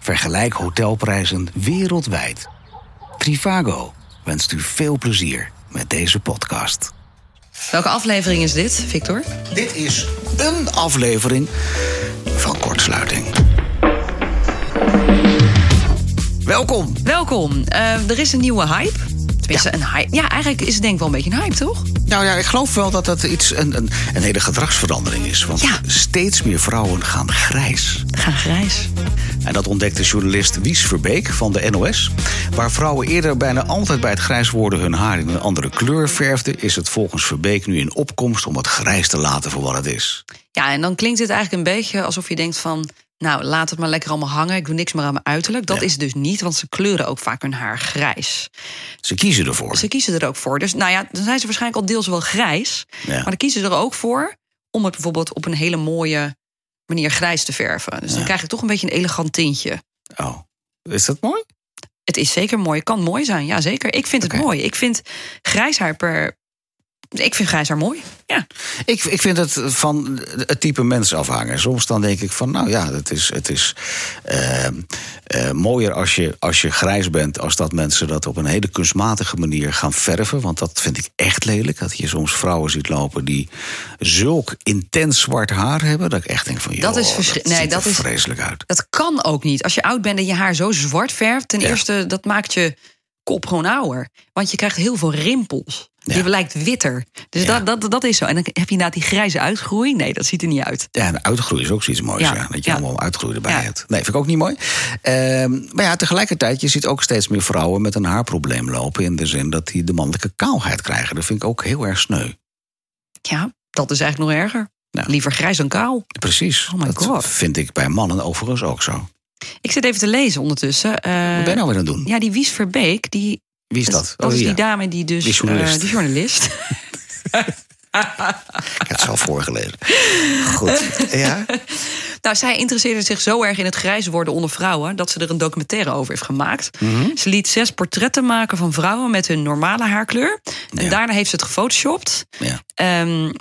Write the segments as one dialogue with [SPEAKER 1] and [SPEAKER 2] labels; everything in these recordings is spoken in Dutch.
[SPEAKER 1] Vergelijk hotelprijzen wereldwijd. Trivago wenst u veel plezier met deze podcast.
[SPEAKER 2] Welke aflevering is dit, Victor?
[SPEAKER 1] Dit is een aflevering van Kortsluiting. Welkom.
[SPEAKER 2] Welkom. Eh, er is een nieuwe hype. Tenminste, een hype. Ja, eigenlijk is het denk ik wel een beetje een hype, toch?
[SPEAKER 1] Nou ja, ik geloof wel dat dat iets, een, een, een hele gedragsverandering is. Want
[SPEAKER 2] Ja.
[SPEAKER 1] steeds meer vrouwen gaan grijs.
[SPEAKER 2] Ga grijs.
[SPEAKER 1] En dat ontdekte journalist Wies Verbeek van de NOS. Waar vrouwen eerder bijna altijd bij het grijs worden hun haar in een andere kleur verfden, is het volgens Verbeek nu in opkomst om het grijs te laten voor wat het is.
[SPEAKER 2] Ja, en dan klinkt dit eigenlijk een beetje alsof je denkt van... nou, laat het maar lekker allemaal hangen. Ik doe niks meer aan mijn uiterlijk. Dat
[SPEAKER 1] Ja.
[SPEAKER 2] is dus niet, want ze kleuren ook vaak hun haar grijs.
[SPEAKER 1] Ze kiezen ervoor.
[SPEAKER 2] Ze kiezen er ook voor. Dus nou ja, dan zijn ze waarschijnlijk al deels wel grijs.
[SPEAKER 1] Ja.
[SPEAKER 2] Maar dan kiezen ze er ook voor om het bijvoorbeeld op een hele mooie manier grijs te verven. Dus dan krijg je toch een beetje een elegant tintje.
[SPEAKER 1] Oh, is dat mooi?
[SPEAKER 2] Het is zeker mooi. Het kan mooi zijn. Ja, zeker. Ik vind het
[SPEAKER 1] Oké.
[SPEAKER 2] mooi. Ik vind grijs haar per... Ik vind grijs haar mooi. Ja.
[SPEAKER 1] Ik, ik vind het van het type mens afhangen. Soms dan denk ik van, nou ja, het is, het is eh, eh, mooier als je, als je grijs bent... als dat mensen dat op een hele kunstmatige manier gaan verven. Want dat vind ik echt lelijk. Dat je soms vrouwen ziet lopen die zulk intens zwart haar hebben... dat ik echt denk van, joh,
[SPEAKER 2] Dat is verschri-
[SPEAKER 1] dat
[SPEAKER 2] nee,
[SPEAKER 1] ziet
[SPEAKER 2] dat
[SPEAKER 1] er
[SPEAKER 2] is-
[SPEAKER 1] vreselijk uit.
[SPEAKER 2] Dat kan ook niet. Als je oud bent en je haar zo zwart verft... ten
[SPEAKER 1] Ja.
[SPEAKER 2] eerste, dat maakt je kop gewoon ouder. Want je krijgt heel veel rimpels.
[SPEAKER 1] Ja.
[SPEAKER 2] Je lijkt witter. Dus
[SPEAKER 1] Ja.
[SPEAKER 2] dat, dat, dat is zo. En dan heb je inderdaad die grijze uitgroei. Nee, dat ziet er niet uit.
[SPEAKER 1] Ja, en uitgroei is ook zoiets moois. Ja.
[SPEAKER 2] Ja,
[SPEAKER 1] Dat je
[SPEAKER 2] ja.
[SPEAKER 1] allemaal uitgroei erbij
[SPEAKER 2] Ja.
[SPEAKER 1] hebt. Nee, vind ik ook niet mooi. Ehm, maar ja, tegelijkertijd, je ziet ook steeds meer vrouwen met een haarprobleem lopen. In de zin dat die de mannelijke kaalheid krijgen. Dat vind ik ook heel erg sneu.
[SPEAKER 2] Ja, dat is eigenlijk nog erger.
[SPEAKER 1] Ja.
[SPEAKER 2] Liever grijs dan kaal.
[SPEAKER 1] Precies.
[SPEAKER 2] Oh my
[SPEAKER 1] dat
[SPEAKER 2] God.
[SPEAKER 1] vind ik bij mannen overigens ook zo. Wat
[SPEAKER 2] Ik zit even te lezen ondertussen. Eh,
[SPEAKER 1] ben je nou weer aan het doen?
[SPEAKER 2] Ja, die Wies Verbeek, die
[SPEAKER 1] Wie is
[SPEAKER 2] Dat,
[SPEAKER 1] dat? Oh,
[SPEAKER 2] is die
[SPEAKER 1] ja.
[SPEAKER 2] dame die dus...
[SPEAKER 1] Die journalist.
[SPEAKER 2] eh, die journalist.
[SPEAKER 1] Ik heb het zelf voorgelezen. Goed. Ja?
[SPEAKER 2] nou, zij interesseerde zich zo erg in het grijs worden onder vrouwen... dat ze er een documentaire over heeft gemaakt. Ze liet zes portretten maken van vrouwen met hun normale haarkleur. En
[SPEAKER 1] Ja.
[SPEAKER 2] daarna heeft ze het gefotoshopt.
[SPEAKER 1] Ja.
[SPEAKER 2] Ehm,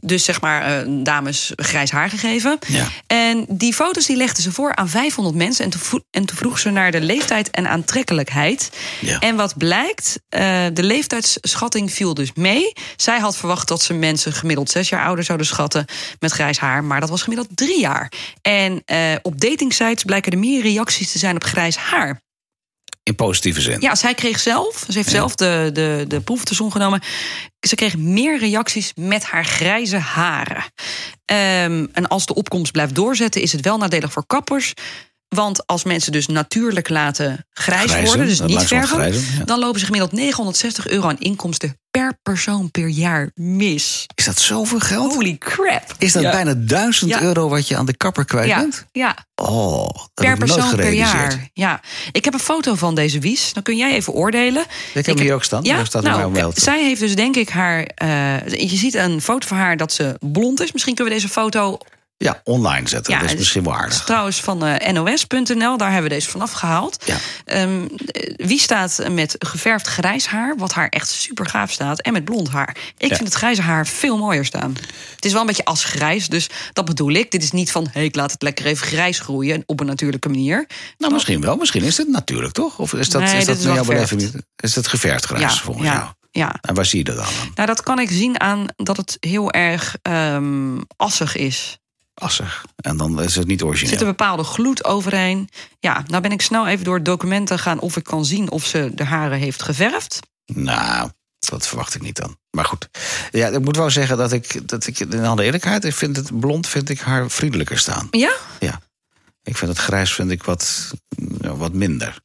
[SPEAKER 2] dus zeg maar eh, dames grijs haar gegeven.
[SPEAKER 1] Ja.
[SPEAKER 2] En die foto's die legden ze voor aan 500 mensen. En toen, vo- en toen vroeg ze naar de leeftijd en aantrekkelijkheid.
[SPEAKER 1] Ja.
[SPEAKER 2] En wat blijkt, eh, de leeftijdsschatting viel dus mee. Zij had verwacht dat ze mensen gemiddeld zes jaar ouder zouden schatten met grijs haar. Maar dat was gemiddeld drie jaar. En eh, op datingsites blijken er meer reacties te zijn op grijs haar.
[SPEAKER 1] In positieve zin.
[SPEAKER 2] Ja, zij kreeg zelf, ze heeft zelf de, de, de proef te zon genomen. Ze kreeg meer reacties met haar grijze haren. Ehm, en als de opkomst blijft doorzetten, is het wel nadelig voor kappers. Want als mensen dus natuurlijk laten grijs
[SPEAKER 1] Grijzen,
[SPEAKER 2] worden, dus niet
[SPEAKER 1] langzamerhand
[SPEAKER 2] verven,
[SPEAKER 1] grijzen, ja.
[SPEAKER 2] dan lopen ze gemiddeld 960 euro aan inkomsten per persoon per jaar mis.
[SPEAKER 1] Is dat zoveel geld?
[SPEAKER 2] Holy crap!
[SPEAKER 1] Is dat
[SPEAKER 2] Ja.
[SPEAKER 1] bijna duizend
[SPEAKER 2] Ja.
[SPEAKER 1] euro wat je aan de kapper kwijt
[SPEAKER 2] ja,
[SPEAKER 1] bent?
[SPEAKER 2] ja,
[SPEAKER 1] Oh, dat
[SPEAKER 2] per
[SPEAKER 1] heb ik nooit
[SPEAKER 2] persoon per
[SPEAKER 1] gerealiseerd.
[SPEAKER 2] jaar. Ja. Ik heb een foto van deze wies. Dan kun jij even oordelen.
[SPEAKER 1] Ik heb hem hier ook staan. Daar staat hij
[SPEAKER 2] nou,
[SPEAKER 1] bij mij op.
[SPEAKER 2] zij heeft dus denk ik haar... eh, je ziet een foto van haar dat ze blond is. Misschien kunnen we deze foto...
[SPEAKER 1] Ja, online zetten.
[SPEAKER 2] Ja,
[SPEAKER 1] dat is
[SPEAKER 2] dus-
[SPEAKER 1] misschien wel
[SPEAKER 2] is
[SPEAKER 1] aardig.
[SPEAKER 2] trouwens van eh, nos.nl, daar hebben we deze vanaf gehaald.
[SPEAKER 1] Ja.
[SPEAKER 2] Ehm, eh, wie staat met geverfd grijs haar, wat haar echt super gaaf staat... en met blond haar. Ik
[SPEAKER 1] Ja.
[SPEAKER 2] vind het grijze haar veel mooier staan. Het is wel een beetje asgrijs, dus dat bedoel ik. Dit is niet van, hey, ik laat het lekker even grijs groeien... op een natuurlijke manier.
[SPEAKER 1] Nou, misschien wel. Misschien is het natuurlijk, toch? Of is dat,
[SPEAKER 2] Nee,
[SPEAKER 1] is
[SPEAKER 2] dit
[SPEAKER 1] dat
[SPEAKER 2] is
[SPEAKER 1] naar
[SPEAKER 2] wel
[SPEAKER 1] jouw
[SPEAKER 2] geverfd.
[SPEAKER 1] beleving? Is dat geverfd grijs volgens jou?
[SPEAKER 2] ja, ja.
[SPEAKER 1] En waar zie je dat dan? aan?
[SPEAKER 2] Nou, dat kan ik zien aan dat het heel erg ehm, assig is.
[SPEAKER 1] Assig. En dan is het niet
[SPEAKER 2] Er
[SPEAKER 1] origineel.
[SPEAKER 2] zit een bepaalde gloed overheen. Ja, nou ben ik snel even door documenten gaan of ik kan zien of ze de haren heeft geverfd.
[SPEAKER 1] Nou, dat verwacht ik niet dan. Maar goed. Ja, ik moet wel zeggen dat ik, dat ik in alle eerlijkheid, ik vind het blond vind ik haar vriendelijker staan.
[SPEAKER 2] Ja?
[SPEAKER 1] Ja. Ik vind het grijs vind ik wat, ja, wat minder.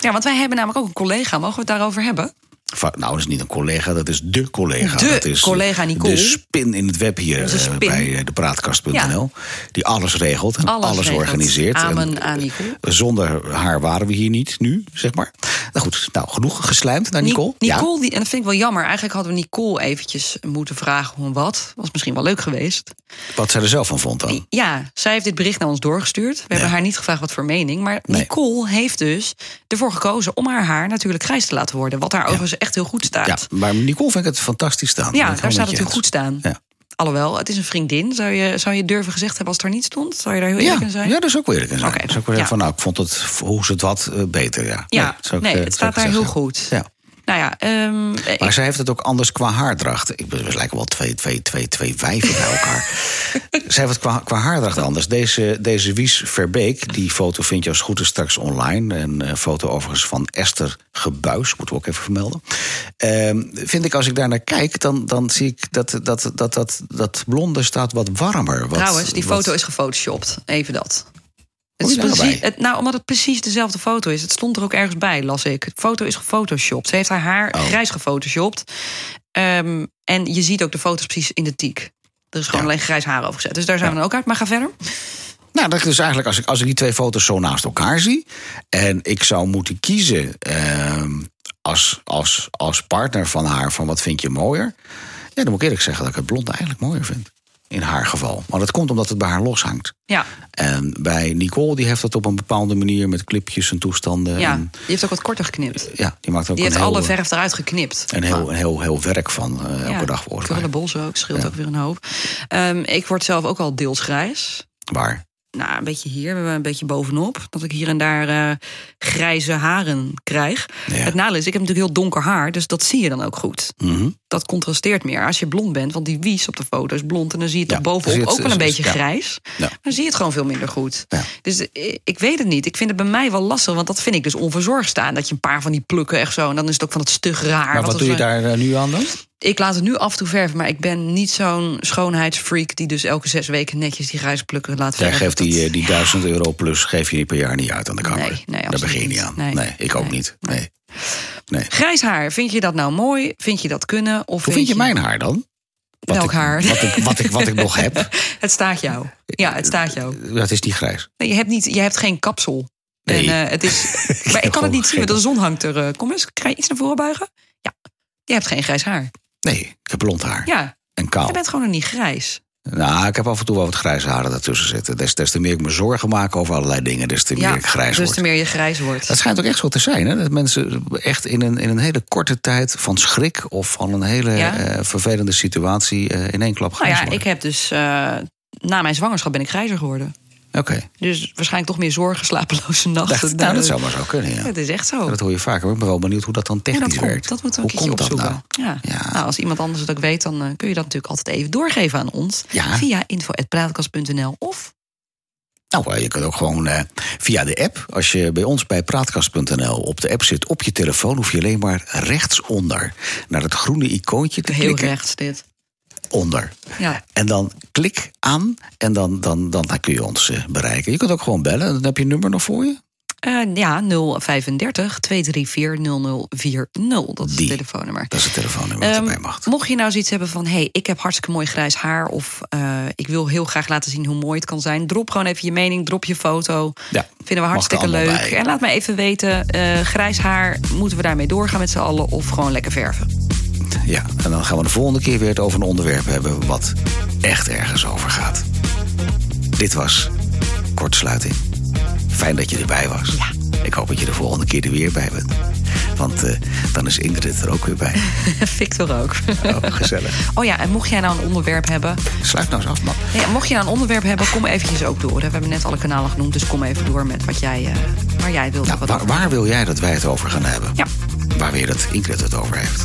[SPEAKER 2] Ja, want wij hebben namelijk ook een collega. Mogen we het daarover hebben?
[SPEAKER 1] Va- Nou, dat is niet een collega, dat is de collega.
[SPEAKER 2] De
[SPEAKER 1] dat is
[SPEAKER 2] collega Nicole.
[SPEAKER 1] De spin in het web hier
[SPEAKER 2] Onze
[SPEAKER 1] eh,
[SPEAKER 2] spin.
[SPEAKER 1] bij eh, de praatkast.nl. Die alles regelt en alles,
[SPEAKER 2] regelt.
[SPEAKER 1] organiseert. En,
[SPEAKER 2] Amen aan Nicole.
[SPEAKER 1] Zonder haar waren we hier niet, nu, zeg maar. Nou goed, nou, genoeg geslijmd naar Nicole.
[SPEAKER 2] Ni-
[SPEAKER 1] Ja.
[SPEAKER 2] Nicole die, en dat vind ik wel jammer. Eigenlijk hadden we Nicole eventjes moeten vragen hoe en wat. Was misschien wel leuk geweest.
[SPEAKER 1] Wat zij er zelf van vond dan.
[SPEAKER 2] Ja, zij heeft dit bericht naar ons doorgestuurd. We hebben haar niet gevraagd wat voor mening. Maar
[SPEAKER 1] Nee.
[SPEAKER 2] Nicole heeft dus ervoor gekozen om haar haar natuurlijk grijs te laten worden. Wat haar overigens echt heel goed staat.
[SPEAKER 1] Ja, maar Nicole vind ik het fantastisch staan.
[SPEAKER 2] Ja,
[SPEAKER 1] Ben ik
[SPEAKER 2] daar
[SPEAKER 1] helemaal
[SPEAKER 2] staat
[SPEAKER 1] met je
[SPEAKER 2] het heel goed
[SPEAKER 1] eens.
[SPEAKER 2] staan.
[SPEAKER 1] Ja.
[SPEAKER 2] Alhoewel, het is een vriendin. Zou je, zou je durven gezegd hebben als het er niet stond? Zou je daar heel
[SPEAKER 1] Ja,
[SPEAKER 2] eerlijk in zijn?
[SPEAKER 1] ja, dat is ook weer een
[SPEAKER 2] Oké,
[SPEAKER 1] okay. ook weer
[SPEAKER 2] ja.
[SPEAKER 1] van, nou, ik vond het, hoe ze het had, eh, beter. Ja,
[SPEAKER 2] Ja,
[SPEAKER 1] dat zou ik,
[SPEAKER 2] nee,
[SPEAKER 1] eh, zou
[SPEAKER 2] het staat
[SPEAKER 1] ik
[SPEAKER 2] daar heel
[SPEAKER 1] zeggen.
[SPEAKER 2] goed.
[SPEAKER 1] Ja.
[SPEAKER 2] Nou ja, ehm, ik-
[SPEAKER 1] Maar zij heeft het ook anders qua haardracht. Ik ben- we lijken wel twee, twee, twee, twee wijven bij elkaar. zij heeft het qua, qua haardracht anders. Deze, deze Wies Verbeek, die foto vind je als het goed is straks online. Een eh, foto overigens van Esther Gebuis, moeten we ook even vermelden. Ehm, vind ik, als ik daar naar kijk, dan, dan zie ik dat dat, dat, dat, dat blonde staat wat warmer. Wat,
[SPEAKER 2] trouwens, die
[SPEAKER 1] wat-
[SPEAKER 2] foto is gefotoshopt. Even dat. Het
[SPEAKER 1] Hoe
[SPEAKER 2] is
[SPEAKER 1] is dat
[SPEAKER 2] precies,
[SPEAKER 1] erbij?
[SPEAKER 2] het, nou, omdat het precies dezelfde foto is. Het stond er ook ergens bij, las ik. De foto is gefotoshopt. Ze heeft haar haar
[SPEAKER 1] Oh.
[SPEAKER 2] grijs gefotoshopt. Ehm, en je ziet ook de foto's precies identiek. Er is gewoon
[SPEAKER 1] Ja.
[SPEAKER 2] alleen grijs haar over gezet. Dus daar zijn we dan ook uit. Maar ga verder.
[SPEAKER 1] Nou, dat is dus eigenlijk als ik, als ik die twee foto's zo naast elkaar zie. En ik zou moeten kiezen ehm, als, als, als partner van haar van wat vind je mooier. Ja, dan moet ik eerlijk zeggen dat ik het blonde eigenlijk mooier vind. In haar geval. Maar dat komt omdat het bij haar loshangt.
[SPEAKER 2] Ja,
[SPEAKER 1] En bij Nicole, die heeft dat op een bepaalde manier met clipjes en toestanden.
[SPEAKER 2] ja.
[SPEAKER 1] En,
[SPEAKER 2] die heeft ook wat korter geknipt.
[SPEAKER 1] ja die maakt ook
[SPEAKER 2] Die
[SPEAKER 1] Ehm. een
[SPEAKER 2] heeft
[SPEAKER 1] heel,
[SPEAKER 2] alle Ah. verf eruit geknipt.
[SPEAKER 1] een heel, een heel, heel werk van eh, elke dag volgens mij.
[SPEAKER 2] Krullenbolzen ook, scheelt
[SPEAKER 1] Ja.
[SPEAKER 2] ook weer een hoop. Ehm, ik word zelf ook al deels grijs.
[SPEAKER 1] Waar?
[SPEAKER 2] nou, een beetje hier, we hebben een beetje bovenop. Dat ik hier en daar eh, grijze haren krijg.
[SPEAKER 1] Ja.
[SPEAKER 2] Het nadeel is, ik heb natuurlijk heel donker haar, dus dat zie je dan ook goed.
[SPEAKER 1] Mhm.
[SPEAKER 2] Dat contrasteert meer als je blond bent, want die wies op de foto is blond. En dan zie je het
[SPEAKER 1] Ja,
[SPEAKER 2] toch
[SPEAKER 1] dan zie
[SPEAKER 2] bovenop
[SPEAKER 1] je het-
[SPEAKER 2] ook wel een
[SPEAKER 1] is- is-
[SPEAKER 2] beetje
[SPEAKER 1] ja.
[SPEAKER 2] grijs.
[SPEAKER 1] Ja.
[SPEAKER 2] Dan zie je het gewoon veel minder goed.
[SPEAKER 1] Ja.
[SPEAKER 2] Dus eh, ik weet het niet. Ik vind het bij mij wel lastig, want dat vind ik dus onverzorgd staan. Dat je een paar van die plukken echt zo, en dan is het ook van het stug raar.
[SPEAKER 1] Maar wat doe je daar eh, nu aan dan?
[SPEAKER 2] Ik laat het nu af en toe verven, maar ik ben niet zo'n schoonheidsfreak... die dus elke zes weken netjes die grijze plukken laat
[SPEAKER 1] Jij
[SPEAKER 2] verven.
[SPEAKER 1] geeft die,
[SPEAKER 2] Dat-
[SPEAKER 1] eh, die 1000 euro plus geef je per jaar niet uit aan de kapper.
[SPEAKER 2] Nee, nee,
[SPEAKER 1] Daar
[SPEAKER 2] absoluut
[SPEAKER 1] begin je niet
[SPEAKER 2] niet.
[SPEAKER 1] aan. Nee,
[SPEAKER 2] Nee.
[SPEAKER 1] ik ook
[SPEAKER 2] Nee.
[SPEAKER 1] niet. Nee.
[SPEAKER 2] Grijs haar, vind je dat nou mooi? Vind je dat kunnen? Of
[SPEAKER 1] Hoe vind je mijn haar dan? Wat
[SPEAKER 2] Welk
[SPEAKER 1] ik,
[SPEAKER 2] haar?
[SPEAKER 1] Wat ik, wat, ik, wat ik nog heb.
[SPEAKER 2] Het staat jou. Ja, het staat jou.
[SPEAKER 1] Dat is niet grijs.
[SPEAKER 2] Nee, je, hebt niet, je hebt geen kapsel.
[SPEAKER 1] Nee.
[SPEAKER 2] En, eh, het is, maar ik kan
[SPEAKER 1] gewoon
[SPEAKER 2] het niet zien,
[SPEAKER 1] geen-
[SPEAKER 2] want de zon hangt er. eh, kom eens, kan je iets naar voren buigen? Ja, je hebt geen grijs haar.
[SPEAKER 1] Nee, ik heb blond haar.
[SPEAKER 2] Ja,
[SPEAKER 1] En kaal.
[SPEAKER 2] je bent gewoon nog niet grijs.
[SPEAKER 1] Nou, ik heb af en toe wel wat grijze haren daartussen zitten. Des, des te meer ik me zorgen maak over allerlei dingen, des te meer
[SPEAKER 2] Ja,
[SPEAKER 1] ik grijs
[SPEAKER 2] dus
[SPEAKER 1] word.
[SPEAKER 2] te meer je grijs wordt.
[SPEAKER 1] Dat schijnt ook echt zo te zijn. Hè? Dat mensen echt in een, in een hele korte tijd van schrik of van een hele
[SPEAKER 2] Ja.
[SPEAKER 1] eh, vervelende situatie eh, in één klap
[SPEAKER 2] nou
[SPEAKER 1] grijs
[SPEAKER 2] ja, ik
[SPEAKER 1] worden.
[SPEAKER 2] heb dus... eh, na mijn zwangerschap ben ik grijzer geworden.
[SPEAKER 1] Oké,
[SPEAKER 2] Dus waarschijnlijk toch meer zorgen, slapeloze nachten.
[SPEAKER 1] dat, nou, dat
[SPEAKER 2] Eh,
[SPEAKER 1] zou maar zo kunnen. Ja.
[SPEAKER 2] Het is echt zo.
[SPEAKER 1] Ja, Dat hoor je vaker. maar Ik ben wel benieuwd hoe dat dan
[SPEAKER 2] Hoe
[SPEAKER 1] technisch
[SPEAKER 2] Oh. dat komt,
[SPEAKER 1] werkt.
[SPEAKER 2] dat moeten we
[SPEAKER 1] hoe
[SPEAKER 2] een keertje
[SPEAKER 1] komt dat
[SPEAKER 2] opzoeken.
[SPEAKER 1] nou?
[SPEAKER 2] Ja.
[SPEAKER 1] Ja.
[SPEAKER 2] Nou, als iemand anders het ook weet, dan eh, kun je dat natuurlijk altijd even doorgeven aan ons.
[SPEAKER 1] Ja.
[SPEAKER 2] Via info.praatkast.nl of...
[SPEAKER 1] Nou, eh, je kunt ook gewoon eh, via de app. Als je bij ons bij praatkast.nl op de app zit op je telefoon, hoef je alleen maar rechtsonder naar het groene icoontje te
[SPEAKER 2] Heel
[SPEAKER 1] klikken.
[SPEAKER 2] rechts dit.
[SPEAKER 1] Onder.
[SPEAKER 2] Ja.
[SPEAKER 1] En dan klik aan en dan, dan, dan, dan kun je ons eh, bereiken. Je kunt ook gewoon bellen. Dan heb je een nummer nog voor je.
[SPEAKER 2] Eh, ja, 035 234 0040. Dat is
[SPEAKER 1] Die.
[SPEAKER 2] het telefoonnummer.
[SPEAKER 1] Dat is het telefoonnummer dat
[SPEAKER 2] Ehm,
[SPEAKER 1] erbij mag.
[SPEAKER 2] mocht je nou zoiets hebben van: hé, hey, ik heb hartstikke mooi grijs haar. of eh, ik wil heel graag laten zien hoe mooi het kan zijn. drop gewoon even je mening, drop je foto.
[SPEAKER 1] Ja,
[SPEAKER 2] Vinden we hartstikke
[SPEAKER 1] er
[SPEAKER 2] leuk.
[SPEAKER 1] allemaal bij.
[SPEAKER 2] En laat me even weten: eh, grijs haar, moeten we daarmee doorgaan met z'n allen of gewoon lekker verven?
[SPEAKER 1] Ja, en dan gaan we de volgende keer weer het over een onderwerp hebben wat echt ergens over gaat. Dit was Kortsluiting. Fijn dat je erbij was. Ik hoop dat je de volgende keer er weer bij bent. Want eh, dan is Ingrid er ook weer bij.
[SPEAKER 2] Victor ook.
[SPEAKER 1] Oh, gezellig.
[SPEAKER 2] Oh ja, en mocht jij nou een onderwerp hebben.
[SPEAKER 1] Sluit nou eens af, man.
[SPEAKER 2] Nee, ja, mocht je nou een onderwerp hebben, kom eventjes ook door. hè. We hebben net alle kanalen genoemd, dus kom even door met wat jij, eh, waar jij wilt.
[SPEAKER 1] Nou,
[SPEAKER 2] wat
[SPEAKER 1] waar, waar wil jij dat wij het over gaan hebben?
[SPEAKER 2] Ja.
[SPEAKER 1] Waar wil je dat Ingrid het over heeft?